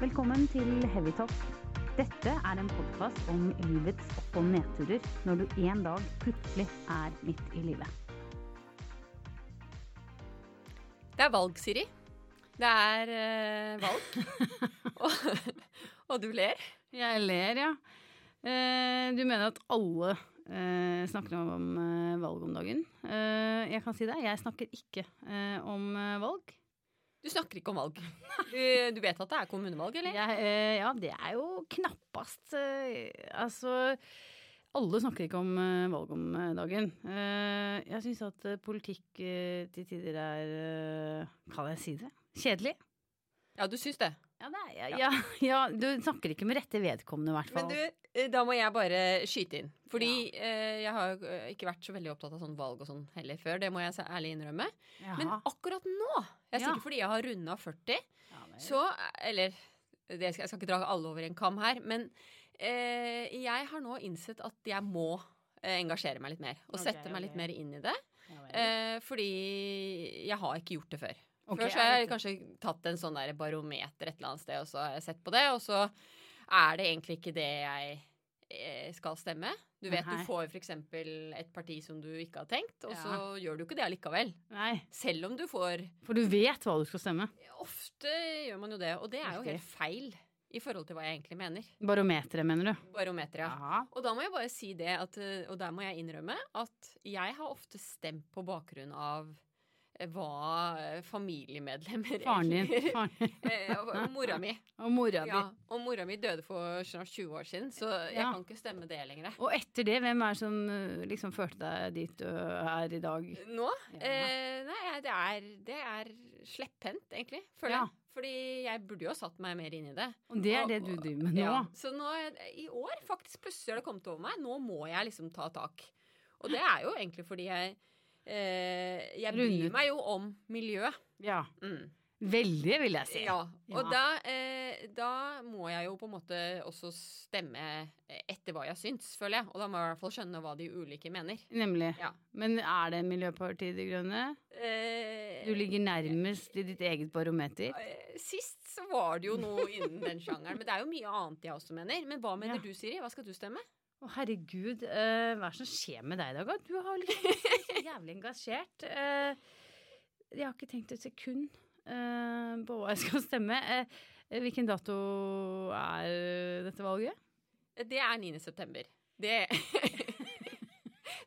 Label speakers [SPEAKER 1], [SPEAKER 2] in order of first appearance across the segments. [SPEAKER 1] Velkommen til Heavytalk. Dette er en podkast om livets opp- og nedturer når du en dag plutselig er midt i livet.
[SPEAKER 2] Det er valg, Siri. Det er eh, valg. og, og du ler.
[SPEAKER 3] Jeg ler, ja. Eh, Du mener at alle eh, snakker om eh, valg om dagen. Eh, Jeg kan si det, jeg snakker ikke eh, om eh, valg.
[SPEAKER 2] Du snakker ikke om valg. Du, du vet at det er kommunevalg, eller?
[SPEAKER 3] Jeg, eh, ja, det er jo knappast eh, Altså, alle snakker ikke om eh, valg om eh, dagen. Eh, Jeg syns at eh, politikk eh, til tider er eh, Kan jeg si det? Kjedelig.
[SPEAKER 2] Ja, du syns det.
[SPEAKER 3] Ja, det er, ja, ja. ja, du snakker ikke med rette vedkommende, i hvert fall.
[SPEAKER 2] Men du, eh, da må jeg bare skyte inn. Fordi eh, jeg har jo eh, ikke vært så veldig opptatt av sånn valg og sånn heller før. Det må jeg så ærlig innrømme.
[SPEAKER 3] Jaha.
[SPEAKER 2] Men akkurat nå, jeg er
[SPEAKER 3] Ja.
[SPEAKER 2] sikker fordi jeg har runda 40,
[SPEAKER 3] Ja, det-
[SPEAKER 2] så eh, Eller det skal, jeg skal ikke dra alle over en kam her, men eh, jeg har nå innsett at jeg må eh, engasjere meg litt mer. Og
[SPEAKER 3] Ok,
[SPEAKER 2] sette meg
[SPEAKER 3] ok.
[SPEAKER 2] litt mer inn i det.
[SPEAKER 3] ja, vel.
[SPEAKER 2] Eh, fordi jeg har ikke gjort det før.
[SPEAKER 3] Ok,
[SPEAKER 2] før så har
[SPEAKER 3] er
[SPEAKER 2] jeg
[SPEAKER 3] dette-
[SPEAKER 2] kanskje tatt en sånn der barometer et eller annet sted, og så har jeg sett på det, og så er det egentlig ikke det jeg eh, skal stemme. Du vet
[SPEAKER 3] Nei.
[SPEAKER 2] du får f.eks. et parti som du ikke har tenkt, og
[SPEAKER 3] Ja.
[SPEAKER 2] så gjør du ikke det allikevel.
[SPEAKER 3] Nei,
[SPEAKER 2] Selv om du får
[SPEAKER 3] for du vet hva du skal stemme.
[SPEAKER 2] Ofte gjør man jo det, og det er jo
[SPEAKER 3] Riktig.
[SPEAKER 2] helt feil i forhold til hva jeg egentlig mener.
[SPEAKER 3] Barometeret, mener du?
[SPEAKER 2] Barometeret.
[SPEAKER 3] Aha.
[SPEAKER 2] Og da må jeg bare si det, at, eh, og der må jeg innrømme, at jeg har ofte stemt på bakgrunn av eh, hva eh, familiemedlemmer
[SPEAKER 3] Faren din.
[SPEAKER 2] egentlig-
[SPEAKER 3] Faren din.
[SPEAKER 2] Eh, og- og mora mi.
[SPEAKER 3] Og mora di.
[SPEAKER 2] Ja, og mora mi døde for snart 20 år siden, så jeg
[SPEAKER 3] Ja.
[SPEAKER 2] kan ikke stemme det lenger.
[SPEAKER 3] Og etter det, hvem er det som eh, liksom førte deg dit du er i dag?
[SPEAKER 2] Nå?
[SPEAKER 3] Ja.
[SPEAKER 2] Eh, nei, det er, det er slepphendt, egentlig, føler
[SPEAKER 3] Ja.
[SPEAKER 2] jeg. Fordi jeg burde jo ha satt meg mer inn i det.
[SPEAKER 3] Og det er det du driver med nå?
[SPEAKER 2] Ja, så nå, er- i år faktisk plutselig har det kommet over meg. Nå må jeg liksom ta tak. Og det er jo egentlig fordi jeg eh, Jeg bryr
[SPEAKER 3] Rundet.
[SPEAKER 2] meg jo om miljø.
[SPEAKER 3] Ja.
[SPEAKER 2] Mm.
[SPEAKER 3] Veldig, vil jeg si.
[SPEAKER 2] Ja. Og
[SPEAKER 3] Ja.
[SPEAKER 2] da, eh, da må jeg jo på en måte også stemme etter hva jeg syns, føler jeg. Og da må jeg i hvert fall skjønne hva de ulike mener.
[SPEAKER 3] Nemlig.
[SPEAKER 2] Ja.
[SPEAKER 3] Men er det Miljøpartiet De Grønne?
[SPEAKER 2] Eh,
[SPEAKER 3] Du ligger nærmest i ditt eget barometer.
[SPEAKER 2] eh, Sist så var det jo noe innen den sjangeren, men det er jo mye annet jeg også mener. Men hva mener
[SPEAKER 3] Ja.
[SPEAKER 2] du, Siri? Hva skal du stemme?
[SPEAKER 3] Å, herregud, eh, hva er det som skjer med deg i dag? da? Du har liksom vært så jævlig engasjert. Eh, jeg har ikke tenkt et sekund eh, på hva jeg skal stemme. Eh, hvilken dato er dette valget?
[SPEAKER 2] Det er 9. september. Det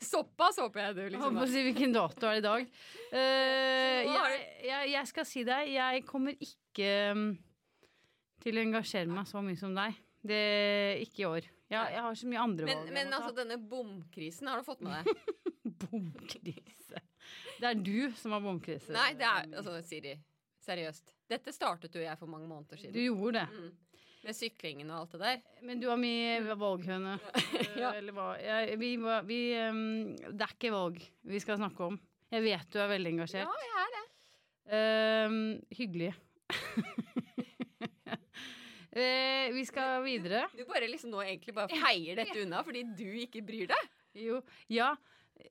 [SPEAKER 2] Såpass håper jeg du
[SPEAKER 3] Jeg
[SPEAKER 2] liksom
[SPEAKER 3] holdt på å si hvilken dato er det i dag. Eh,
[SPEAKER 2] Så nå har
[SPEAKER 3] jeg, jeg, jeg skal si deg, jeg kommer ikke mm, til å engasjere meg så mye som deg. Det, ikke i år. Jeg, jeg har så mye andre
[SPEAKER 2] men,
[SPEAKER 3] valg. jeg
[SPEAKER 2] men
[SPEAKER 3] må ta.
[SPEAKER 2] altså, denne bomkrisen, har du fått med deg?
[SPEAKER 3] Bomkrise. Det er du som har bomkrise.
[SPEAKER 2] Nei, det er altså, Siri. Seriøst. Dette startet jo jeg for mange måneder
[SPEAKER 3] Du
[SPEAKER 2] siden.
[SPEAKER 3] gjorde det.
[SPEAKER 2] Mm. Med syklingen og alt det der.
[SPEAKER 3] Men du har mye valghøne.
[SPEAKER 2] Ja.
[SPEAKER 3] Eller hva. Jeg, vi, var- vi, um, det er ikke valg vi skal snakke om. Jeg vet du er veldig engasjert.
[SPEAKER 2] Ja, jeg er det.
[SPEAKER 3] Um, hyggelig. Eh, vi skal videre.
[SPEAKER 2] Du bare liksom nå egentlig bare feier dette unna fordi du ikke bryr deg.
[SPEAKER 3] Jo, ja.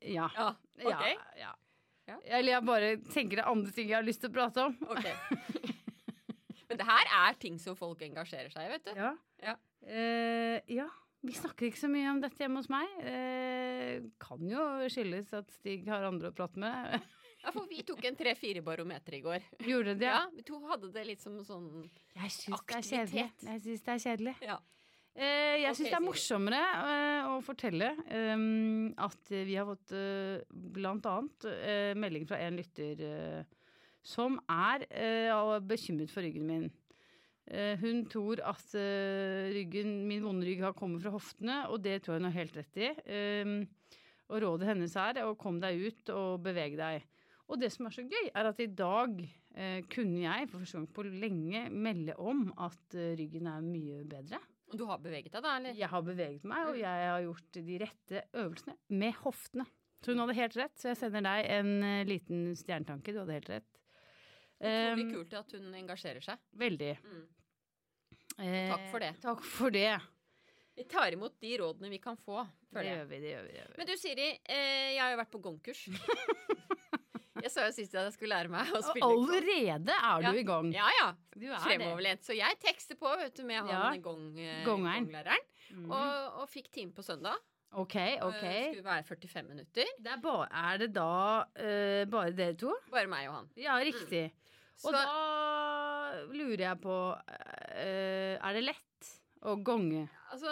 [SPEAKER 3] Ja.
[SPEAKER 2] Ja, ok.
[SPEAKER 3] ja, ja.
[SPEAKER 2] Ja.
[SPEAKER 3] Eller jeg bare tenker det er andre ting jeg har lyst til å prate om.
[SPEAKER 2] ok. Men det her er ting som folk engasjerer seg i, vet du.
[SPEAKER 3] Ja.
[SPEAKER 2] Ja.
[SPEAKER 3] Eh, ja. Vi snakker ikke så mye om dette hjemme hos meg. Eh, kan jo skyldes at Stig har andre å prate med.
[SPEAKER 2] Ja, for vi tok en tre-fire barometer i går.
[SPEAKER 3] Gjorde det?
[SPEAKER 2] Ja, Vi to hadde det litt som sånn
[SPEAKER 3] Jeg syns det er
[SPEAKER 2] Aktivitet.
[SPEAKER 3] kjedelig. Jeg syns det er kjedelig.
[SPEAKER 2] Ja.
[SPEAKER 3] Eh, jeg syns
[SPEAKER 2] Ok,
[SPEAKER 3] det er
[SPEAKER 2] Siri.
[SPEAKER 3] morsommere eh, å fortelle eh, at vi har fått eh, blant annet eh, melding fra en lytter eh, som er eh, og er bekymret for ryggen min. Eh, hun tror at eh, ryggen, min vonde rygg har kommet fra hoftene, og det tror jeg hun har helt rett i. Eh, og rådet hennes er å komme deg ut og bevege deg. Og det som er så gøy, er at i dag eh, kunne jeg for første gang på lenge melde om at eh, ryggen er mye bedre.
[SPEAKER 2] Du har beveget deg, da? eller?
[SPEAKER 3] Jeg har beveget meg,
[SPEAKER 2] Mm.
[SPEAKER 3] og jeg har gjort de rette øvelsene med hoftene. Så hun hadde helt rett, så jeg sender deg en eh, liten stjernetanke. Du hadde helt rett.
[SPEAKER 2] Utrolig
[SPEAKER 3] Ehm,
[SPEAKER 2] kult at hun engasjerer seg.
[SPEAKER 3] veldig.
[SPEAKER 2] Mm.
[SPEAKER 3] Eh,
[SPEAKER 2] Takk for det.
[SPEAKER 3] Takk for det.
[SPEAKER 2] Vi tar imot de rådene vi kan få,
[SPEAKER 3] Det
[SPEAKER 2] føler jeg.
[SPEAKER 3] gjør vi, det gjør vi. Det gjør vi.
[SPEAKER 2] Men du Siri, eh, jeg har jo vært på gongkurs. Jeg sa jo sist at jeg skulle lære meg å spille gong.
[SPEAKER 3] Allerede er du
[SPEAKER 2] Ja.
[SPEAKER 3] i gang.
[SPEAKER 2] Ja, ja.
[SPEAKER 3] Du er
[SPEAKER 2] Fremoverlent. Så jeg tekster på vet du, med han
[SPEAKER 3] Ja.
[SPEAKER 2] gong, eh,
[SPEAKER 3] Gongeren.
[SPEAKER 2] gonglæreren.
[SPEAKER 3] Mm.
[SPEAKER 2] Og, og fikk time på søndag.
[SPEAKER 3] Ok, ok.
[SPEAKER 2] Eh, Skulle være 45 minutter.
[SPEAKER 3] Det er, bare, er det da eh, bare dere to?
[SPEAKER 2] Bare meg og han.
[SPEAKER 3] Ja, riktig.
[SPEAKER 2] Mm. Så
[SPEAKER 3] Og da lurer jeg på eh, Er det lett å gonge?
[SPEAKER 2] altså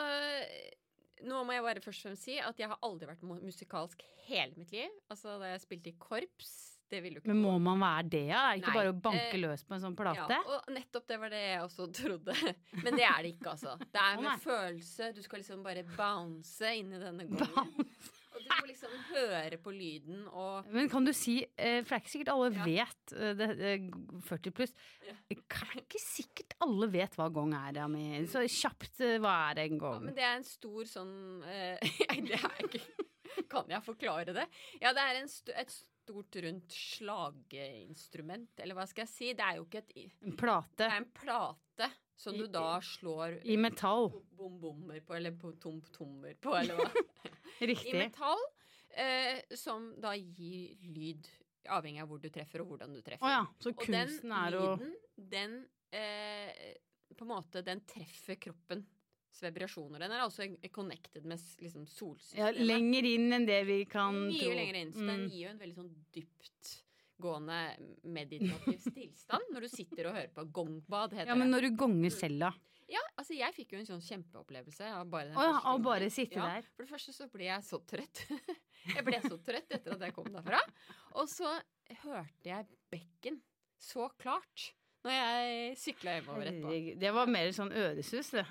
[SPEAKER 2] Nå må jeg bare først og fremst si at jeg har aldri vært mu- musikalsk hele mitt liv. Altså da jeg spilte i korps. Det ville jo ikke
[SPEAKER 3] Men
[SPEAKER 2] noen-
[SPEAKER 3] må man være det, ja? Det er ikke
[SPEAKER 2] Nei,
[SPEAKER 3] bare å banke
[SPEAKER 2] eh,
[SPEAKER 3] løs på en sånn plate?
[SPEAKER 2] Ja, og nettopp det var det jeg også trodde. Men det er det ikke, altså. Det
[SPEAKER 3] Å,
[SPEAKER 2] er
[SPEAKER 3] nei.
[SPEAKER 2] med følelse. Du skal liksom bare bounce inn i denne gangen.
[SPEAKER 3] Bam.
[SPEAKER 2] Og du må liksom høre på lyden og
[SPEAKER 3] Men kan du si, eh, for det er ikke sikkert alle
[SPEAKER 2] Ja.
[SPEAKER 3] vet eh, det, eh, 40 pluss Eh,
[SPEAKER 2] Ja.
[SPEAKER 3] Det er ikke sikkert alle vet hva gong er, Ami. Så kjapt, eh, hva er en
[SPEAKER 2] ja,
[SPEAKER 3] gong?
[SPEAKER 2] Men det er en stor sånn eh, Nei, det er ikke Kan jeg forklare det? Ja, det er en st et stort, rundt slageinstrument, eller hva skal jeg si? Det er jo ikke et i-
[SPEAKER 3] En plate
[SPEAKER 2] Det er en plate som
[SPEAKER 3] I-
[SPEAKER 2] du da slår
[SPEAKER 3] i metall.
[SPEAKER 2] bom-bommer på, eller på tom-tommer på, eller hva. I
[SPEAKER 3] Riktig.
[SPEAKER 2] metall, eh, som da gir lyd, avhengig av hvor du treffer og hvordan du treffer.
[SPEAKER 3] Å ja, så
[SPEAKER 2] Og den
[SPEAKER 3] kunsten er å
[SPEAKER 2] lyden, den eh, på en måte, den treffer kroppens vibrasjoner. Den er altså en- connected med s- liksom,
[SPEAKER 3] ja,
[SPEAKER 2] solsystemet.
[SPEAKER 3] Lenger inn enn det vi kan
[SPEAKER 2] Mye
[SPEAKER 3] tro.
[SPEAKER 2] lenger inn. Så den
[SPEAKER 3] Mm.
[SPEAKER 2] gir jo en veldig sånn dyptgående meditativ stillstand når du sitter og hører på gongbad, heter
[SPEAKER 3] Ja, men
[SPEAKER 2] det.
[SPEAKER 3] når du gonger selv, da?
[SPEAKER 2] Ja, altså jeg fikk jo en sånn kjempeopplevelse av bare den
[SPEAKER 3] Å ja,
[SPEAKER 2] første
[SPEAKER 3] og bare
[SPEAKER 2] gangen.
[SPEAKER 3] sitte
[SPEAKER 2] Ja,
[SPEAKER 3] der.
[SPEAKER 2] For det første så ble jeg så trøtt. Jeg ble så trøtt etter at jeg kom derfra. Og så hørte jeg bekken så klart når jeg sykla hjemover etterpå.
[SPEAKER 3] Herregud, det var mer sånn øresus, det.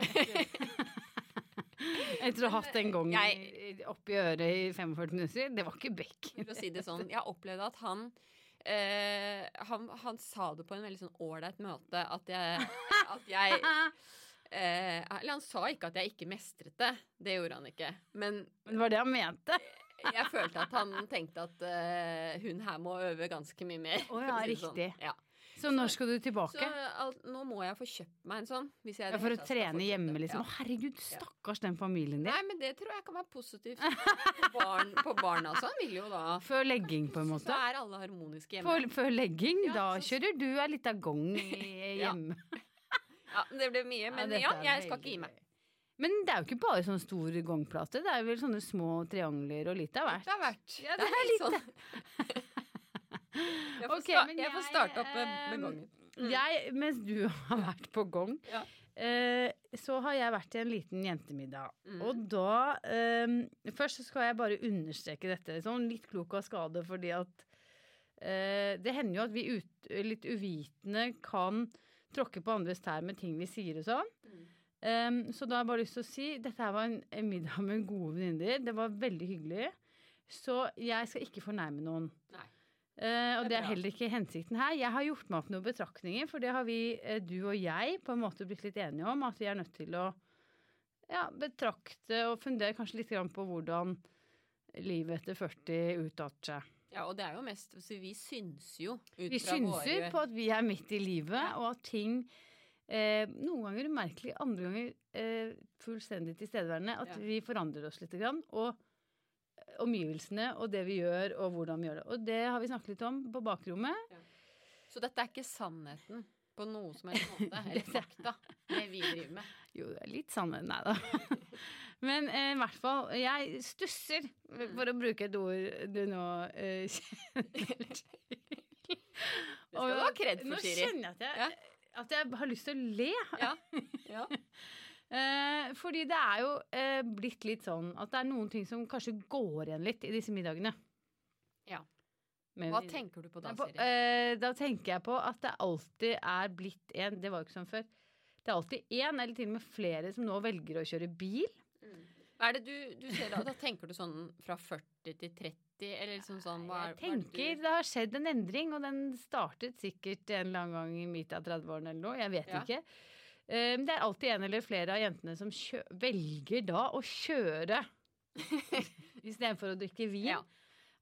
[SPEAKER 3] Etter å ha hatt en gong
[SPEAKER 2] Jeg-
[SPEAKER 3] oppi øret i 45 minutter. Det var ikke bekken.
[SPEAKER 2] For å si det sånn, jeg opplevde at han eh, han, han sa det på en veldig sånn ålreit møte at jeg, at jeg
[SPEAKER 3] Men
[SPEAKER 2] eh, Eller han sa ikke at jeg ikke mestret det. Det gjorde han ikke. Men
[SPEAKER 3] det var det han mente.
[SPEAKER 2] jeg følte at han tenkte at eh, hun her må øve ganske mye mer.
[SPEAKER 3] Å ja,
[SPEAKER 2] for å si det sånn.
[SPEAKER 3] riktig.
[SPEAKER 2] Ja.
[SPEAKER 3] Så når skal du tilbake?
[SPEAKER 2] Så alt, nå må jeg få kjøpt meg en sånn. Hvis jeg i
[SPEAKER 3] Ja,
[SPEAKER 2] det
[SPEAKER 3] for
[SPEAKER 2] hele
[SPEAKER 3] å
[SPEAKER 2] tatt skal
[SPEAKER 3] trene
[SPEAKER 2] fortsette.
[SPEAKER 3] hjemme, liksom. Å,
[SPEAKER 2] Ja.
[SPEAKER 3] herregud, stakkars den familien
[SPEAKER 2] Nei,
[SPEAKER 3] din.
[SPEAKER 2] men det tror jeg kan være positivt på, barn, på barna og sånn. Vil jo da
[SPEAKER 3] Før legging, på en
[SPEAKER 2] Så
[SPEAKER 3] måte.
[SPEAKER 2] er alle harmoniske hjemme.
[SPEAKER 3] Før, før legging,
[SPEAKER 2] Ja,
[SPEAKER 3] da
[SPEAKER 2] så-
[SPEAKER 3] kjører du ei lita gong i-
[SPEAKER 2] Ja,
[SPEAKER 3] hjemme.
[SPEAKER 2] Ja, det ble mye, men
[SPEAKER 3] dette
[SPEAKER 2] ja,
[SPEAKER 3] er
[SPEAKER 2] jeg skal
[SPEAKER 3] veldig
[SPEAKER 2] ikke gi meg.
[SPEAKER 3] gøy. Men det er jo ikke bare sånn stor gongplate, det er vel sånne små triangler og litt av hvert.
[SPEAKER 2] Det har vært
[SPEAKER 3] Ja,
[SPEAKER 2] det er litt sånn. Jeg får,
[SPEAKER 3] Ok,
[SPEAKER 2] sta
[SPEAKER 3] men
[SPEAKER 2] jeg får
[SPEAKER 3] jeg,
[SPEAKER 2] starte opp med, med
[SPEAKER 3] ehm,
[SPEAKER 2] gangen. Mm.
[SPEAKER 3] Jeg, mens du har vært på gong,
[SPEAKER 2] Ja.
[SPEAKER 3] eh, så har jeg vært i en liten jentemiddag.
[SPEAKER 2] Mm.
[SPEAKER 3] Og da eh, Først så skal jeg bare understreke dette, sånn litt klok av skade, fordi at eh, det hender jo at vi ut, litt uvitende kan tråkke på andres tær med ting vi sier og sånn.
[SPEAKER 2] Mm.
[SPEAKER 3] Eh, så da har jeg bare lyst til å si dette her var en, en middag med gode venninner. Det var veldig hyggelig. Så jeg skal ikke fornærme noen.
[SPEAKER 2] Nei.
[SPEAKER 3] Eh, og
[SPEAKER 2] Det er
[SPEAKER 3] det er
[SPEAKER 2] bra.
[SPEAKER 3] heller ikke hensikten her. Jeg har gjort meg opp noen betraktninger, for det har vi, eh, du og jeg, på en måte blitt litt enige om. At vi er nødt til å ja, betrakte og fundere kanskje litt grann på hvordan livet etter 40 utarter seg.
[SPEAKER 2] Ja, og det er jo mest Så vi synser jo ut
[SPEAKER 3] Vi
[SPEAKER 2] fra
[SPEAKER 3] synser
[SPEAKER 2] våre
[SPEAKER 3] på at vi er midt i livet,
[SPEAKER 2] Ja.
[SPEAKER 3] og at ting eh, noen ganger umerkelig, andre ganger eh, fullstendig tilstedeværende. At
[SPEAKER 2] Ja.
[SPEAKER 3] vi forandrer oss litt. Grann, og omgivelsene og det vi gjør, og hvordan vi gjør det. Og det har vi snakket litt om på bakrommet.
[SPEAKER 2] Så dette er ikke sannheten på noe som helst måte. Eller
[SPEAKER 3] Dette-
[SPEAKER 2] fakta. Det vi driver med.
[SPEAKER 3] Jo, det er litt sannhet, nei da. Men eh, i hvert fall, jeg stusser,
[SPEAKER 2] Mm.
[SPEAKER 3] for å bruke et ord du nå eh, kjenner til.
[SPEAKER 2] Det skal du ha kred for,
[SPEAKER 3] Nå
[SPEAKER 2] Siri.
[SPEAKER 3] kjenner jeg at jeg,
[SPEAKER 2] Ja.
[SPEAKER 3] at jeg har lyst til å le.
[SPEAKER 2] Ja. ja.
[SPEAKER 3] Eh, fordi det er jo eh, blitt litt sånn at det er noen ting som kanskje går igjen litt i disse middagene.
[SPEAKER 2] Ja.
[SPEAKER 3] Men
[SPEAKER 2] Hva
[SPEAKER 3] vi-
[SPEAKER 2] tenker du på da,
[SPEAKER 3] Nei, på-
[SPEAKER 2] Siri?
[SPEAKER 3] eh, da tenker jeg på at det alltid er blitt en Det var jo ikke sånn før. Det er alltid én eller til og med flere som nå velger å kjøre bil.
[SPEAKER 2] Hva eh, er det du, du ser da? Da tenker du sånn fra 40 til 30, eller liksom sånn hva er,
[SPEAKER 3] jeg tenker det har skjedd en endring, og den startet sikkert en eller annen gang i midten av 30-årene eller noe. Jeg vet
[SPEAKER 2] Ja.
[SPEAKER 3] ikke. Eh, men det er alltid en eller flere av jentene som kjø velger da å kjøre istedenfor å drikke vin.
[SPEAKER 2] Ja.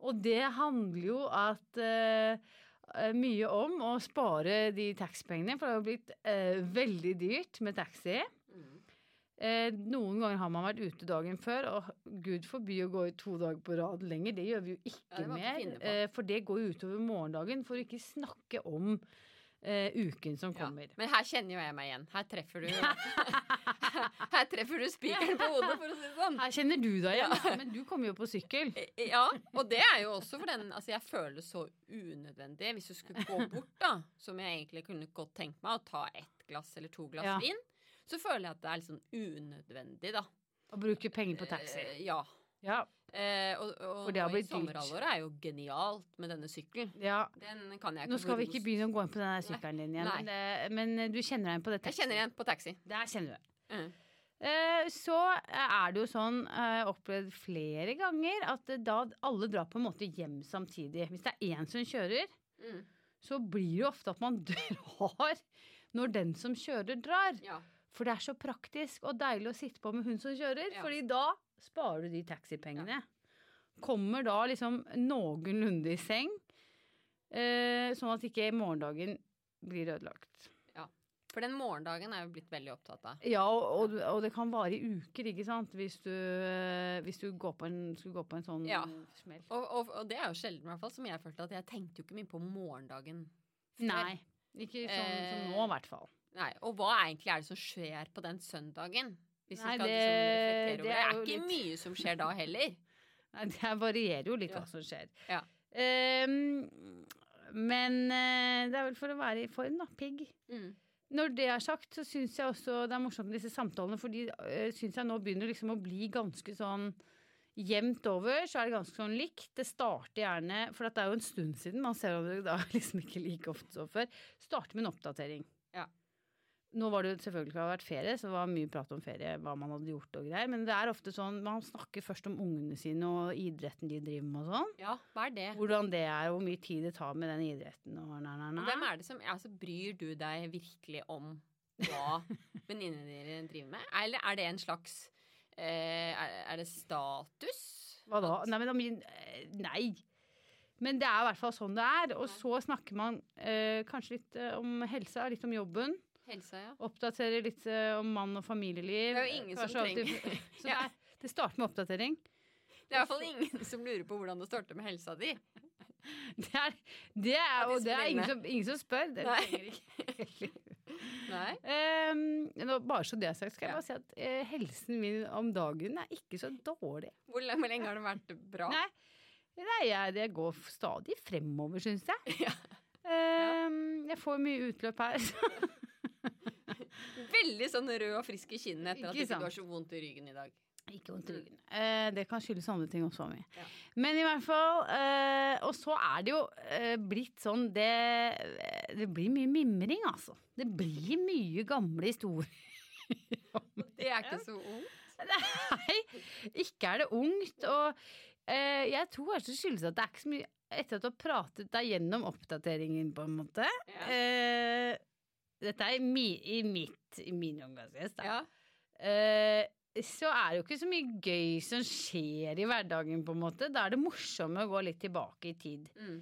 [SPEAKER 3] Og det handler jo at eh, eh, mye om å spare de taxipengene, for det har jo blitt eh, veldig dyrt med taxi.
[SPEAKER 2] Mm.
[SPEAKER 3] Eh, Eh, noen ganger har man vært ute dagen før, og gud forby å gå i to dager på rad lenger. Det gjør vi jo
[SPEAKER 2] Ja,
[SPEAKER 3] ikke
[SPEAKER 2] det må ikke
[SPEAKER 3] mer,
[SPEAKER 2] finne på.
[SPEAKER 3] eh, for det går jo utover morgendagen. For å ikke snakke om eh, uken som
[SPEAKER 2] Ja.
[SPEAKER 3] kommer.
[SPEAKER 2] Men her kjenner jo jeg meg igjen. Her treffer du Her treffer du spikeren på hodet, for å si det sånn. Eh,
[SPEAKER 3] Her kjenner du deg igjen, men du kommer jo på sykkel.
[SPEAKER 2] Ja, og det er jo også for den Altså, jeg føler det så unødvendig. Hvis du skulle gå bort, da, som jeg egentlig kunne godt tenkt meg, å ta ett glass eller to glass
[SPEAKER 3] Ja.
[SPEAKER 2] vin, så føler jeg at det er litt sånn unødvendig, da.
[SPEAKER 3] Og bruker penger på taxi.
[SPEAKER 2] Eh, Ja.
[SPEAKER 3] Ja,
[SPEAKER 2] Eh, og og,
[SPEAKER 3] For det har
[SPEAKER 2] nå i
[SPEAKER 3] blitt dyrt.
[SPEAKER 2] sommerhalvåret er jo genialt med denne sykkelen.
[SPEAKER 3] ja.
[SPEAKER 2] Den kan jeg
[SPEAKER 3] Nå skal vi ikke
[SPEAKER 2] rose.
[SPEAKER 3] begynne å gå inn på den der sykkelen din igjen,
[SPEAKER 2] Nei.
[SPEAKER 3] men, eh, men eh, du kjenner deg igjen på det
[SPEAKER 2] Jeg kjenner
[SPEAKER 3] taxi.
[SPEAKER 2] igjen på taxi.
[SPEAKER 3] Der kjenner du deg.
[SPEAKER 2] Mm.
[SPEAKER 3] Eh, Så er det jo sånn, eh, opplevd flere ganger, at eh, da alle drar på en måte hjem samtidig. Hvis det er én som kjører,
[SPEAKER 2] Mm.
[SPEAKER 3] så blir det jo ofte at man drar når den som kjører, drar.
[SPEAKER 2] Ja.
[SPEAKER 3] For det er så praktisk og deilig å sitte på med hun som kjører,
[SPEAKER 2] Ja.
[SPEAKER 3] fordi da sparer du de taxipengene. Kommer da liksom noenlunde i seng, eh, sånn at ikke morgendagen blir ødelagt.
[SPEAKER 2] For den morgendagen er vi blitt veldig opptatt av.
[SPEAKER 3] Ja, og, og, du- og det kan vare i uker, ikke sant, hvis du, eh, hvis du går på en, skulle gå på en sånn
[SPEAKER 2] Ja.
[SPEAKER 3] smell.
[SPEAKER 2] Og, og, og det er jo sjelden, i hvert fall, som jeg følte at jeg tenkte jo ikke mye på morgendagen. før.
[SPEAKER 3] Nei, ikke sånn som
[SPEAKER 2] Eh.
[SPEAKER 3] nå i hvert fall.
[SPEAKER 2] Nei, Og hva egentlig er det som skjer på den søndagen? Hvis
[SPEAKER 3] Nei,
[SPEAKER 2] vi skal
[SPEAKER 3] det-
[SPEAKER 2] liksom reflektere
[SPEAKER 3] det er
[SPEAKER 2] over det. Det er
[SPEAKER 3] jo
[SPEAKER 2] ikke
[SPEAKER 3] litt-
[SPEAKER 2] mye som skjer da heller.
[SPEAKER 3] Nei, det her varierer jo litt
[SPEAKER 2] Ja.
[SPEAKER 3] hva som skjer.
[SPEAKER 2] Ja.
[SPEAKER 3] Ehm, men eh, det er vel for å være i form, da. Pigg.
[SPEAKER 2] Mm.
[SPEAKER 3] Når det er sagt, så syns jeg også det er morsomt med disse samtalene, for de uh, syns jeg nå begynner liksom å bli ganske sånn Jevnt over så er det ganske sånn likt. Det starter gjerne For at det er jo en stund siden, man ser hverandre da liksom ikke like ofte som før. Starter med en oppdatering.
[SPEAKER 2] Ja.
[SPEAKER 3] Nå var det jo selvfølgelig ikke vært ferie, så det var mye prat om ferie, hva man hadde gjort og greier. Men det er ofte sånn man snakker først om ungene sine og idretten de driver med og sånn.
[SPEAKER 2] Ja, hva er det?
[SPEAKER 3] Hvordan det er, og hvor mye tid det tar med den idretten og næ, næ, næ.
[SPEAKER 2] Hvem er det som altså, Bryr du deg virkelig om hva venninnene dine driver med? Eller er det en slags eh, er, er det status?
[SPEAKER 3] Hva da?
[SPEAKER 2] At-
[SPEAKER 3] Nei, men, da min- eh, nei. men det er i hvert fall sånn det er. Og så snakker man eh, kanskje litt eh, om helsa, litt om jobben.
[SPEAKER 2] Helsa, ja.
[SPEAKER 3] Oppdaterer litt eh, om mann og familieliv.
[SPEAKER 2] Det er jo ingen som
[SPEAKER 3] Kanskje alltid-
[SPEAKER 2] trenger
[SPEAKER 3] Så det,
[SPEAKER 2] Ja.
[SPEAKER 3] er, det starter med oppdatering.
[SPEAKER 2] Det er i hvert fall ingen som lurer på hvordan det starter med helsa di.
[SPEAKER 3] Det er, det er, og det er ingen,
[SPEAKER 2] Disiplinen.
[SPEAKER 3] som, ingen som spør. Det
[SPEAKER 2] Nei.
[SPEAKER 3] trenger ikke.
[SPEAKER 2] Nei?
[SPEAKER 3] Em, Ehm, nå, bare så det er sagt, skal jeg
[SPEAKER 2] Ja.
[SPEAKER 3] bare si at eh, helsen min om dagen er ikke så dårlig.
[SPEAKER 2] Hvor, le- hvor lenge har det vært bra?
[SPEAKER 3] Nei. Nei, jeg, det går f- stadig fremover, syns jeg.
[SPEAKER 2] Ja.
[SPEAKER 3] Ehm, jeg får mye utløp her. så-
[SPEAKER 2] Veldig sånn rød og frisk i kinnene etter at
[SPEAKER 3] Ikke
[SPEAKER 2] du ikke
[SPEAKER 3] sant?
[SPEAKER 2] har så vondt i ryggen i dag.
[SPEAKER 3] Ikke vondt i ryggen. Eh, det kan skyldes andre ting også. Ami.
[SPEAKER 2] Ja.
[SPEAKER 3] Men i hvert fall eh, Og så er det jo eh, blitt sånn det, det blir mye mimring, altså. Det blir mye gamle historier.
[SPEAKER 2] Det er ikke så ung.
[SPEAKER 3] Nei, ikke er det ungt. Og eh, jeg tror kanskje det skyldes at det er ikke så mye etter at du har pratet deg gjennom oppdateringen, på en måte.
[SPEAKER 2] Ja.
[SPEAKER 3] Eh, dette er i, mi, i mitt i min omgangskrets, da.
[SPEAKER 2] Ja.
[SPEAKER 3] Eh, så er det jo ikke så mye gøy som skjer i hverdagen, på en måte. Da er det morsomme å gå litt tilbake i tid.
[SPEAKER 2] Mm.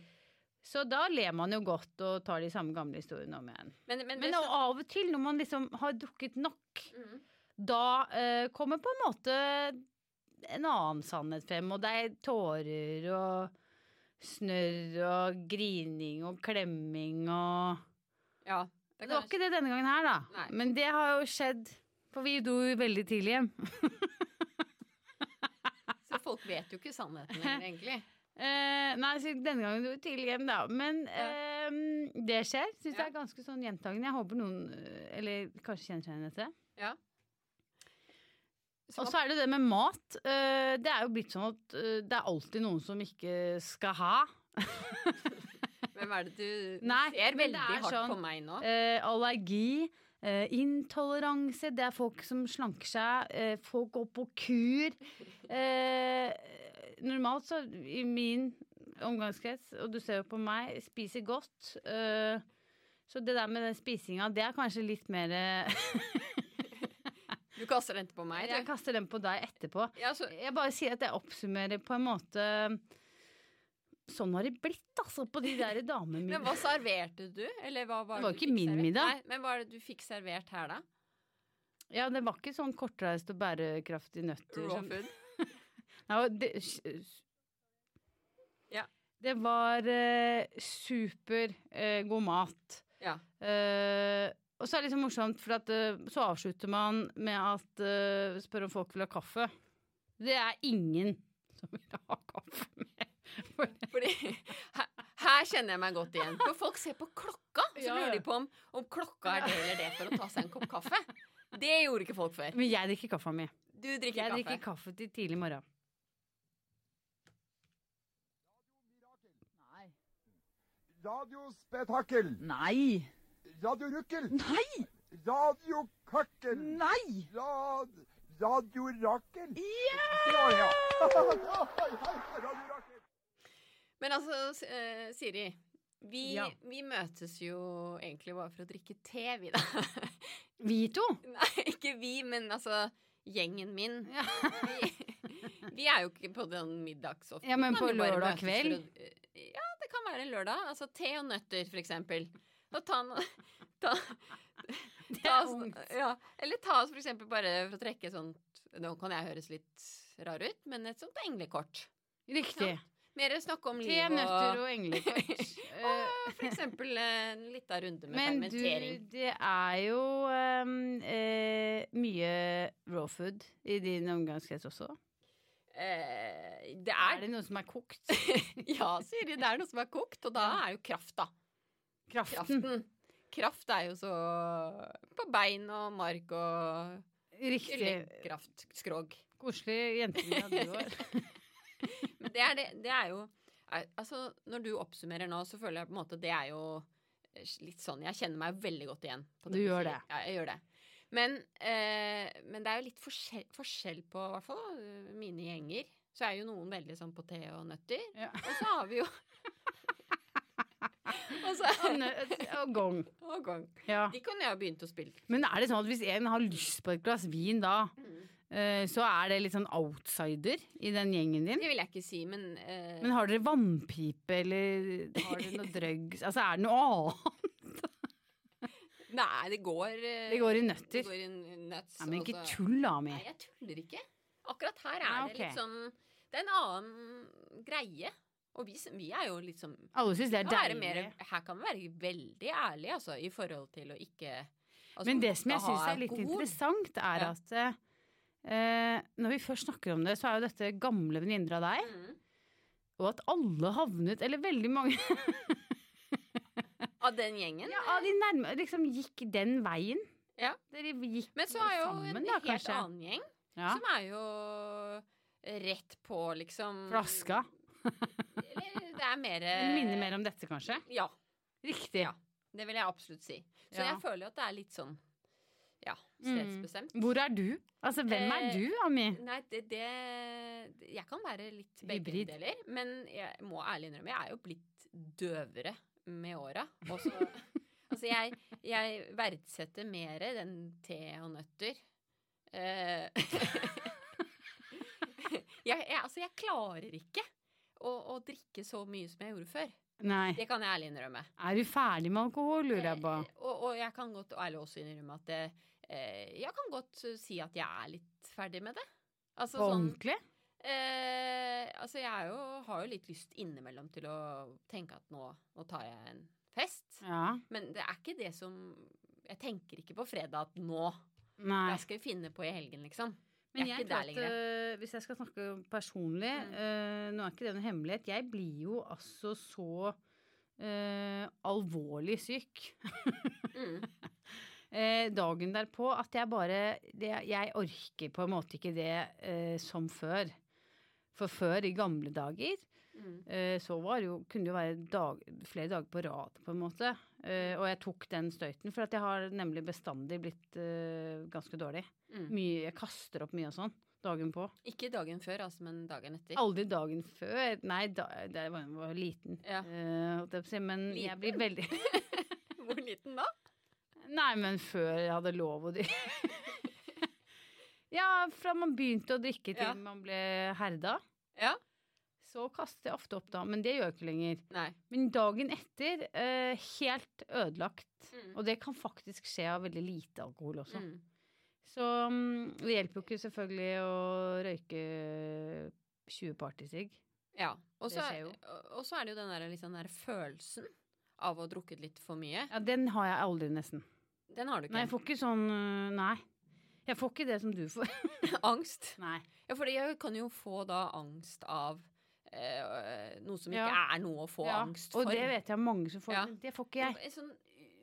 [SPEAKER 3] Så da ler man jo godt og tar de samme gamle historiene om igjen.
[SPEAKER 2] Men, men,
[SPEAKER 3] Men
[SPEAKER 2] det,
[SPEAKER 3] og av og til, når man liksom har drukket nok,
[SPEAKER 2] mm.
[SPEAKER 3] da eh, kommer på en måte en annen sannhet frem, og det er tårer og snørr og grining og klemming og
[SPEAKER 2] ja.
[SPEAKER 3] Det
[SPEAKER 2] kan
[SPEAKER 3] var ikke det denne gangen her, da.
[SPEAKER 2] Nei.
[SPEAKER 3] Men det har jo skjedd, for vi dro jo veldig tidlig hjem.
[SPEAKER 2] jeg- Så folk vet jo ikke sannheten lenger, egentlig.
[SPEAKER 3] Eh, nei, så denne gangen dro vi tidlig hjem, da. Men eh, det skjer. Syns
[SPEAKER 2] Ja.
[SPEAKER 3] jeg er ganske sånn gjentagende. Jeg håper noen, eh, eller kanskje kjenner seg igjen i dette.
[SPEAKER 2] Så Sånn.
[SPEAKER 3] Og så er det det med mat. Eh, Det er jo blitt sånn at eh, det er alltid noen som ikke skal ha.
[SPEAKER 2] hvem er det du
[SPEAKER 3] Nei,
[SPEAKER 2] Du ser
[SPEAKER 3] men det
[SPEAKER 2] veldig
[SPEAKER 3] er
[SPEAKER 2] hardt
[SPEAKER 3] sånn-
[SPEAKER 2] på meg nå.
[SPEAKER 3] Eh, Allergi, eh, intoleranse, det er folk som slanker seg, eh, folk går på kur. Eh, Normalt så i min omgangskrets, og du ser jo på meg, spiser godt. eh, Så det der med den spisinga, det er kanskje litt mer eh,
[SPEAKER 2] Du kaster den på meg.
[SPEAKER 3] Jeg
[SPEAKER 2] Du.
[SPEAKER 3] kaster den på deg etterpå.
[SPEAKER 2] Ja, så,
[SPEAKER 3] Jeg bare sier at jeg oppsummerer på en måte Sånn har det blitt, altså, på de der damene mine.
[SPEAKER 2] men hva serverte du? Eller hva var
[SPEAKER 3] Det var
[SPEAKER 2] du
[SPEAKER 3] ikke
[SPEAKER 2] fikk
[SPEAKER 3] min
[SPEAKER 2] servert?
[SPEAKER 3] middag.
[SPEAKER 2] Nei, men hva er det du fikk servert her, da?
[SPEAKER 3] Ja, det var ikke sånn kortreist og bærekraftig nøtter.
[SPEAKER 2] Raw
[SPEAKER 3] som-
[SPEAKER 2] food.
[SPEAKER 3] Nei, og det, s- s-
[SPEAKER 2] Ja.
[SPEAKER 3] det var eh, super eh, god mat.
[SPEAKER 2] Ja.
[SPEAKER 3] Eh, og så er det liksom morsomt, for at, eh, så avslutter man med at eh, spør om folk vil ha kaffe. Det er ingen som vil ha kaffe mer. For
[SPEAKER 2] Fordi her, her kjenner jeg meg godt igjen. For folk ser på klokka, så
[SPEAKER 3] Ja, ja.
[SPEAKER 2] lurer de på om, om klokka er det eller det for å ta seg en kopp kaffe. Det gjorde ikke folk før.
[SPEAKER 3] Men jeg drikker kaffa mi.
[SPEAKER 2] Du drikker
[SPEAKER 3] Jeg
[SPEAKER 2] kaffe.
[SPEAKER 3] drikker kaffe til tidlig morgen.
[SPEAKER 1] Nei.
[SPEAKER 4] Radiospetakkel.
[SPEAKER 1] Nei!
[SPEAKER 4] Radiorukkel.
[SPEAKER 1] Nei!
[SPEAKER 4] Radiokakkel.
[SPEAKER 1] Nei!
[SPEAKER 4] Rad... Radiorakel.
[SPEAKER 1] Ja!
[SPEAKER 4] Ja, ja. Radiorakel.
[SPEAKER 2] Men altså, S- eh, Siri. Vi,
[SPEAKER 3] Ja.
[SPEAKER 2] vi møtes jo egentlig bare for å drikke te, vi, da.
[SPEAKER 3] Vi to!
[SPEAKER 2] Nei, ikke vi, men altså gjengen min.
[SPEAKER 3] Ja.
[SPEAKER 2] Vi, vi er jo ikke på den middagsoften.
[SPEAKER 3] Ja, men
[SPEAKER 2] Vi kan
[SPEAKER 3] på
[SPEAKER 2] jo bare
[SPEAKER 3] lørdag
[SPEAKER 2] møtes for
[SPEAKER 3] kveld?
[SPEAKER 2] å- eh, Ja, det kan være en lørdag. Altså te og nøtter, for eksempel. Og ta no... Ta,
[SPEAKER 3] Det
[SPEAKER 2] ta
[SPEAKER 3] er
[SPEAKER 2] oss,
[SPEAKER 3] ungt.
[SPEAKER 2] ja, eller ta oss for eksempel bare for å trekke et sånt Nå kan jeg høres litt rar ut, men et sånt englekort.
[SPEAKER 3] Riktig.
[SPEAKER 2] Mer snakke om
[SPEAKER 3] Te,
[SPEAKER 2] liv
[SPEAKER 3] nøtter
[SPEAKER 2] og
[SPEAKER 3] og englekort. Eh,
[SPEAKER 2] For eksempel eh, en lita runde med
[SPEAKER 3] Men du,
[SPEAKER 2] fermentering.
[SPEAKER 3] det er jo ehm, eh, mye raw food i din omgangskrets også.
[SPEAKER 2] Eh, det
[SPEAKER 3] Er
[SPEAKER 2] er
[SPEAKER 3] det noe som er kokt?
[SPEAKER 2] Ja, Siri, det er noe som er kokt, og da er jo krafta.
[SPEAKER 3] Kraften.
[SPEAKER 2] Kraften. Kraft er jo så på bein og mark og
[SPEAKER 3] Riktig.
[SPEAKER 2] Kraft, skrog.
[SPEAKER 3] Koselig jenteliv at du var.
[SPEAKER 2] Men det er, det, det er jo er- Altså, når du oppsummerer nå, så føler jeg på en måte det er jo eh, litt sånn Jeg kjenner meg veldig godt igjen. på
[SPEAKER 3] Du gjør
[SPEAKER 2] sier.
[SPEAKER 3] det.
[SPEAKER 2] Ja, jeg gjør det. Men, eh, men det er jo litt forskjell, forskjell på i hvert fall da, mine gjenger. Så er jo noen veldig sånn på te og nøtter.
[SPEAKER 3] Ja.
[SPEAKER 2] Og så har vi jo Og så
[SPEAKER 3] Og nø- Og gong.
[SPEAKER 2] Å, gang.
[SPEAKER 3] Ja.
[SPEAKER 2] De kunne jeg ha begynt å spille.
[SPEAKER 3] Men er det sånn at hvis en har lyst på et glass vin da, eh, så er det litt sånn outsider i den gjengen din?
[SPEAKER 2] Det vil jeg ikke si, men, eh,
[SPEAKER 3] Men har dere vannpipe, eller har dere noe drøgg? Altså er det noe annet?
[SPEAKER 2] Nei, det går eh,
[SPEAKER 3] Det går i
[SPEAKER 2] Det
[SPEAKER 3] nøtter.
[SPEAKER 2] går i n- nuts.
[SPEAKER 3] Nei, men
[SPEAKER 2] og
[SPEAKER 3] ikke
[SPEAKER 2] så-
[SPEAKER 3] tull da, Mi.
[SPEAKER 2] Altså, Nei, jeg tuller ikke. Akkurat her er
[SPEAKER 3] Nei,
[SPEAKER 2] det
[SPEAKER 3] ok.
[SPEAKER 2] litt sånn Det er en annen greie. Og vi, s- vi er jo litt sånn
[SPEAKER 3] Alle syns det er
[SPEAKER 2] kan være
[SPEAKER 3] deilig.
[SPEAKER 2] mer, Her kan vi være veldig ærlige, altså, i forhold til å ikke altså,
[SPEAKER 3] Men det som jeg
[SPEAKER 2] ikke ha
[SPEAKER 3] syns er litt
[SPEAKER 2] alkohol.
[SPEAKER 3] interessant, er
[SPEAKER 2] Ja.
[SPEAKER 3] at eh, når vi først snakker om det, så er jo dette gamle venninner av deg,
[SPEAKER 2] Mm.
[SPEAKER 3] og at alle havnet, eller veldig mange
[SPEAKER 2] Av den gjengen.
[SPEAKER 3] ja, av de nærme, liksom gikk den veien.
[SPEAKER 2] Ja.
[SPEAKER 3] Dere gikk
[SPEAKER 2] Men så har jo
[SPEAKER 3] sammen,
[SPEAKER 2] en
[SPEAKER 3] da,
[SPEAKER 2] helt
[SPEAKER 3] kanskje.
[SPEAKER 2] annen gjeng,
[SPEAKER 3] Ja.
[SPEAKER 2] som er jo rett på, liksom
[SPEAKER 3] Flaska.
[SPEAKER 2] Eller det er mer
[SPEAKER 3] Den minner mer om dette, kanskje.
[SPEAKER 2] Ja.
[SPEAKER 3] Riktig.
[SPEAKER 2] Eh, Ja. Det vil jeg absolutt si. Så
[SPEAKER 3] Ja.
[SPEAKER 2] jeg føler jo at det er litt sånn ja,
[SPEAKER 3] Mm.
[SPEAKER 2] stedsbestemt.
[SPEAKER 3] Hvor er du? Altså, hvem er
[SPEAKER 2] Eh,
[SPEAKER 3] du, Ami?
[SPEAKER 2] Nei, det, det Jeg kan være litt begge
[SPEAKER 3] Hybrid.
[SPEAKER 2] deler. Men jeg må ærlig innrømme, jeg er jo blitt døvere med åra. Og så- altså, jeg, jeg verdsetter mer den te og nøtter. Eh, jeg, jeg, altså, jeg klarer ikke å, å drikke så mye som jeg gjorde før.
[SPEAKER 3] Nei.
[SPEAKER 2] Det kan jeg ærlig innrømme.
[SPEAKER 3] Er du ferdig med alkohol, lurer jeg på.
[SPEAKER 2] Eh, Og, og jeg kan godt ærlig også innrømme at det, eh, jeg kan godt eh, si at jeg er litt ferdig med det. Altså,
[SPEAKER 3] På
[SPEAKER 2] sånn,
[SPEAKER 3] ordentlig?
[SPEAKER 2] eh, altså jeg er jo, har jo litt lyst innimellom til å tenke at nå, nå tar jeg en fest.
[SPEAKER 3] Ja.
[SPEAKER 2] Men det er ikke det som Jeg tenker ikke på fredag at nå
[SPEAKER 3] Nei.
[SPEAKER 2] Hva skal vi finne på i helgen, liksom?
[SPEAKER 3] Men
[SPEAKER 2] Jeg er
[SPEAKER 3] jeg
[SPEAKER 2] ikke
[SPEAKER 3] tror
[SPEAKER 2] der
[SPEAKER 3] at
[SPEAKER 2] lenger.
[SPEAKER 3] øh, hvis jeg skal snakke personlig
[SPEAKER 2] Mm.
[SPEAKER 3] øh, Nå er ikke det en hemmelighet. Jeg blir jo altså så øh, alvorlig syk
[SPEAKER 2] Mm.
[SPEAKER 3] eh, dagen derpå at jeg bare det, Jeg orker på en måte ikke det eh, som før. For før, i gamle dager,
[SPEAKER 2] Mm.
[SPEAKER 3] eh, så var det jo, kunne det jo være dag, flere dager på rad, på en måte. Eh, og jeg tok den støyten, for at jeg har nemlig bestandig blitt eh, ganske dårlig.
[SPEAKER 2] Mm.
[SPEAKER 3] Mye, jeg kaster opp mye og sånn dagen på.
[SPEAKER 2] Ikke dagen før, altså, men dagen etter.
[SPEAKER 3] Aldri dagen før. Nei, da, da jeg var, var liten.
[SPEAKER 2] Ja.
[SPEAKER 3] eh, holdt jeg på å si, men jeg blir veldig
[SPEAKER 2] Hvor liten da?
[SPEAKER 3] Nei, men før jeg hadde lov å drikke. ja, fra man begynte å drikke til
[SPEAKER 2] Ja.
[SPEAKER 3] man ble herda.
[SPEAKER 2] Ja.
[SPEAKER 3] Så kastet jeg ofte opp da, men det gjør jeg ikke lenger.
[SPEAKER 2] Nei.
[SPEAKER 3] Men dagen etter, eh, helt ødelagt.
[SPEAKER 2] Mm.
[SPEAKER 3] Og det kan faktisk skje av veldig lite alkohol også.
[SPEAKER 2] Mm.
[SPEAKER 3] Så mm, det hjelper jo ikke selvfølgelig å røyke 20 partysigg.
[SPEAKER 2] Ja. Og
[SPEAKER 3] Det
[SPEAKER 2] så
[SPEAKER 3] skjer jo.
[SPEAKER 2] og så er det jo den der, liksom, den der følelsen av å ha drukket litt for mye.
[SPEAKER 3] Ja, den har jeg aldri, nesten.
[SPEAKER 2] Den har du
[SPEAKER 3] Nei,
[SPEAKER 2] ikke.
[SPEAKER 3] jeg får ikke sånn øh, Nei. Jeg får ikke det som du får.
[SPEAKER 2] Angst.
[SPEAKER 3] Nei.
[SPEAKER 2] Ja, for jeg kan jo få da angst av eh, noe som ikke
[SPEAKER 3] Ja.
[SPEAKER 2] er noe å få
[SPEAKER 3] Ja,
[SPEAKER 2] angst for.
[SPEAKER 3] Og det vet jeg mange som får.
[SPEAKER 2] Ja.
[SPEAKER 3] men Det får ikke jeg.
[SPEAKER 2] En sånn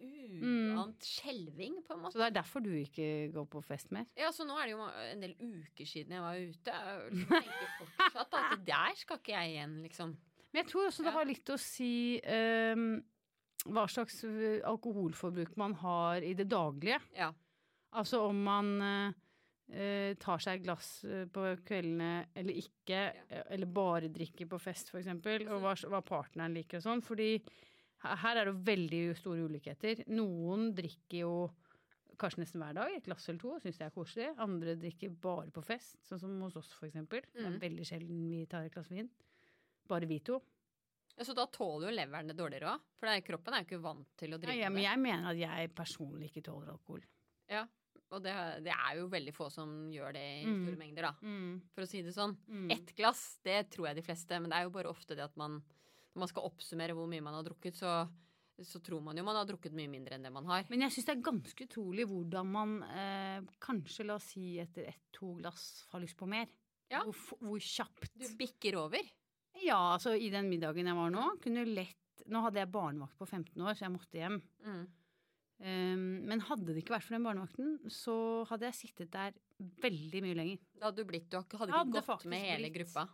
[SPEAKER 3] Mm.
[SPEAKER 2] uant skjelving, på en måte.
[SPEAKER 3] Så det er derfor du ikke går på fest mer?
[SPEAKER 2] Ja, så nå er det jo en del uker siden jeg var ute. Jeg tenker fortsatt at der skal ikke jeg igjen, liksom.
[SPEAKER 3] Men jeg tror også det
[SPEAKER 2] Ja.
[SPEAKER 3] har litt å si øhm, hva slags øh, alkoholforbruk man har i det daglige.
[SPEAKER 2] Ja.
[SPEAKER 3] Altså om man øh, øh, tar seg et glass øh, på kveldene eller ikke, øh, eller bare drikker på fest f.eks., og hva, s-
[SPEAKER 2] Mm.
[SPEAKER 3] hva partneren liker og sånn. Fordi he- her er det jo veldig store ulikheter. Noen drikker jo kanskje nesten hver dag, et glass eller to, og syns det er koselig. Andre drikker bare på fest, sånn som hos oss f.eks. Det er
[SPEAKER 2] Mhm.
[SPEAKER 3] veldig sjelden vi tar et glass vin. Bare vi to.
[SPEAKER 2] Ja, Så da tåler jo leveren det dårligere òg. For det er, kroppen er jo ikke vant til å
[SPEAKER 3] Ja,
[SPEAKER 2] drikke
[SPEAKER 3] ja, men
[SPEAKER 2] det.
[SPEAKER 3] jeg mener at jeg personlig ikke tåler alkohol.
[SPEAKER 2] Og det, det er jo veldig få som gjør det i
[SPEAKER 3] Mm.
[SPEAKER 2] store mengder, da. For å si det sånn.
[SPEAKER 3] Mm.
[SPEAKER 2] Ett glass, det tror jeg de fleste, men det er jo bare ofte det at man Når man skal oppsummere hvor mye man har drukket, så, så tror man jo man har drukket mye mindre enn det man har.
[SPEAKER 3] Men jeg syns det er ganske utrolig hvordan man eh, kanskje, la oss si, etter ett-to glass har lyst på mer.
[SPEAKER 2] Ja.
[SPEAKER 3] Hvor, f- hvor kjapt.
[SPEAKER 2] Du bikker over.
[SPEAKER 3] Ja, altså i den middagen jeg var nå, kunne lett Nå hadde jeg barnevakt på 15 år, så jeg måtte hjem.
[SPEAKER 2] Mm.
[SPEAKER 3] Ehm, men hadde det ikke vært for den barnevakten, så hadde jeg sittet der veldig mye lenger.
[SPEAKER 2] Da hadde du blitt Du hadde
[SPEAKER 3] Hadde
[SPEAKER 2] ikke gått
[SPEAKER 3] faktisk
[SPEAKER 2] med hele
[SPEAKER 3] blitt.
[SPEAKER 2] gruppa.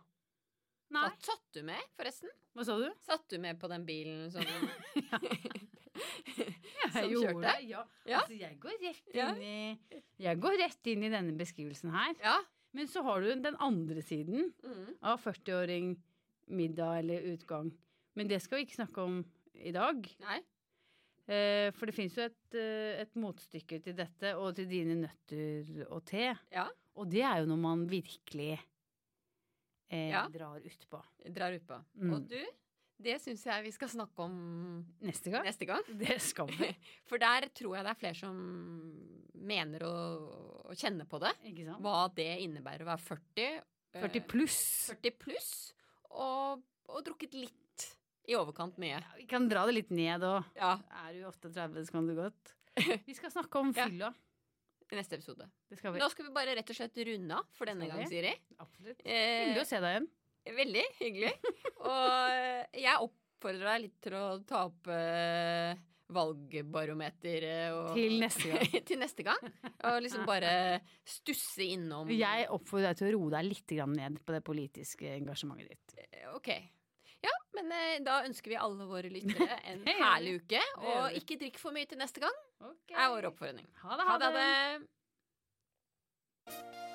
[SPEAKER 3] Nei.
[SPEAKER 2] Satt, satt du med, forresten?
[SPEAKER 3] Hva sa du?
[SPEAKER 2] Satt du med på den bilen som Som
[SPEAKER 3] Jeg gjorde
[SPEAKER 2] kjørte?
[SPEAKER 3] det, ja.
[SPEAKER 2] Ja.
[SPEAKER 3] Altså, jeg går rett
[SPEAKER 2] Ja.
[SPEAKER 3] inn i Jeg går rett inn i denne beskrivelsen her.
[SPEAKER 2] Ja.
[SPEAKER 3] Men så har du den andre siden
[SPEAKER 2] Mm.
[SPEAKER 3] av 40-åring, middag eller utgang. Men det skal vi ikke snakke om i dag.
[SPEAKER 2] Nei.
[SPEAKER 3] Eh, For det fins jo et, eh, et motstykke til dette og til dine nøtter og te.
[SPEAKER 2] Ja.
[SPEAKER 3] Og det er jo når man virkelig eh,
[SPEAKER 2] Ja.
[SPEAKER 3] drar utpå.
[SPEAKER 2] Drar utpå.
[SPEAKER 3] Mm.
[SPEAKER 2] Og du, det syns jeg vi skal snakke om
[SPEAKER 3] Neste gang.
[SPEAKER 2] neste gang.
[SPEAKER 3] Det skal vi.
[SPEAKER 2] For der tror jeg det er flere som mener å, å kjenne på det.
[SPEAKER 3] Ikke sant?
[SPEAKER 2] Hva det innebærer å være 40. eh,
[SPEAKER 3] 40 pluss.
[SPEAKER 2] 40 pluss og, og drukket litt i overkant mye.
[SPEAKER 3] Ja, vi kan dra det litt ned og
[SPEAKER 2] Ja,
[SPEAKER 3] Er du 38, så kan du godt. Vi skal snakke om
[SPEAKER 2] Ja.
[SPEAKER 3] fylla.
[SPEAKER 2] i neste episode.
[SPEAKER 3] Det skal vi.
[SPEAKER 2] Da skal vi bare rett og slett runde av for denne
[SPEAKER 3] Skal vi?
[SPEAKER 2] gang, Siri.
[SPEAKER 3] Absolutt.
[SPEAKER 2] Eh,
[SPEAKER 3] Hyggelig å se deg igjen.
[SPEAKER 2] Veldig hyggelig. Og eh, jeg oppfordrer deg litt til å ta opp eh, valgbarometer eh, og,
[SPEAKER 3] Til neste gang.
[SPEAKER 2] til neste gang. Og liksom bare stusse innom
[SPEAKER 3] Jeg oppfordrer deg til å roe deg litt grann ned på det politiske engasjementet ditt.
[SPEAKER 2] Ok. Ja, men eh, da ønsker vi alle våre lyttere en
[SPEAKER 3] Det gjør
[SPEAKER 2] herlig
[SPEAKER 3] Det
[SPEAKER 2] uke.
[SPEAKER 3] gjør
[SPEAKER 2] Og
[SPEAKER 3] vi.
[SPEAKER 2] ikke drikk for mye til neste gang,
[SPEAKER 3] Okay.
[SPEAKER 2] er vår oppfordring.
[SPEAKER 3] Ha det,
[SPEAKER 2] Ha det. Ha det.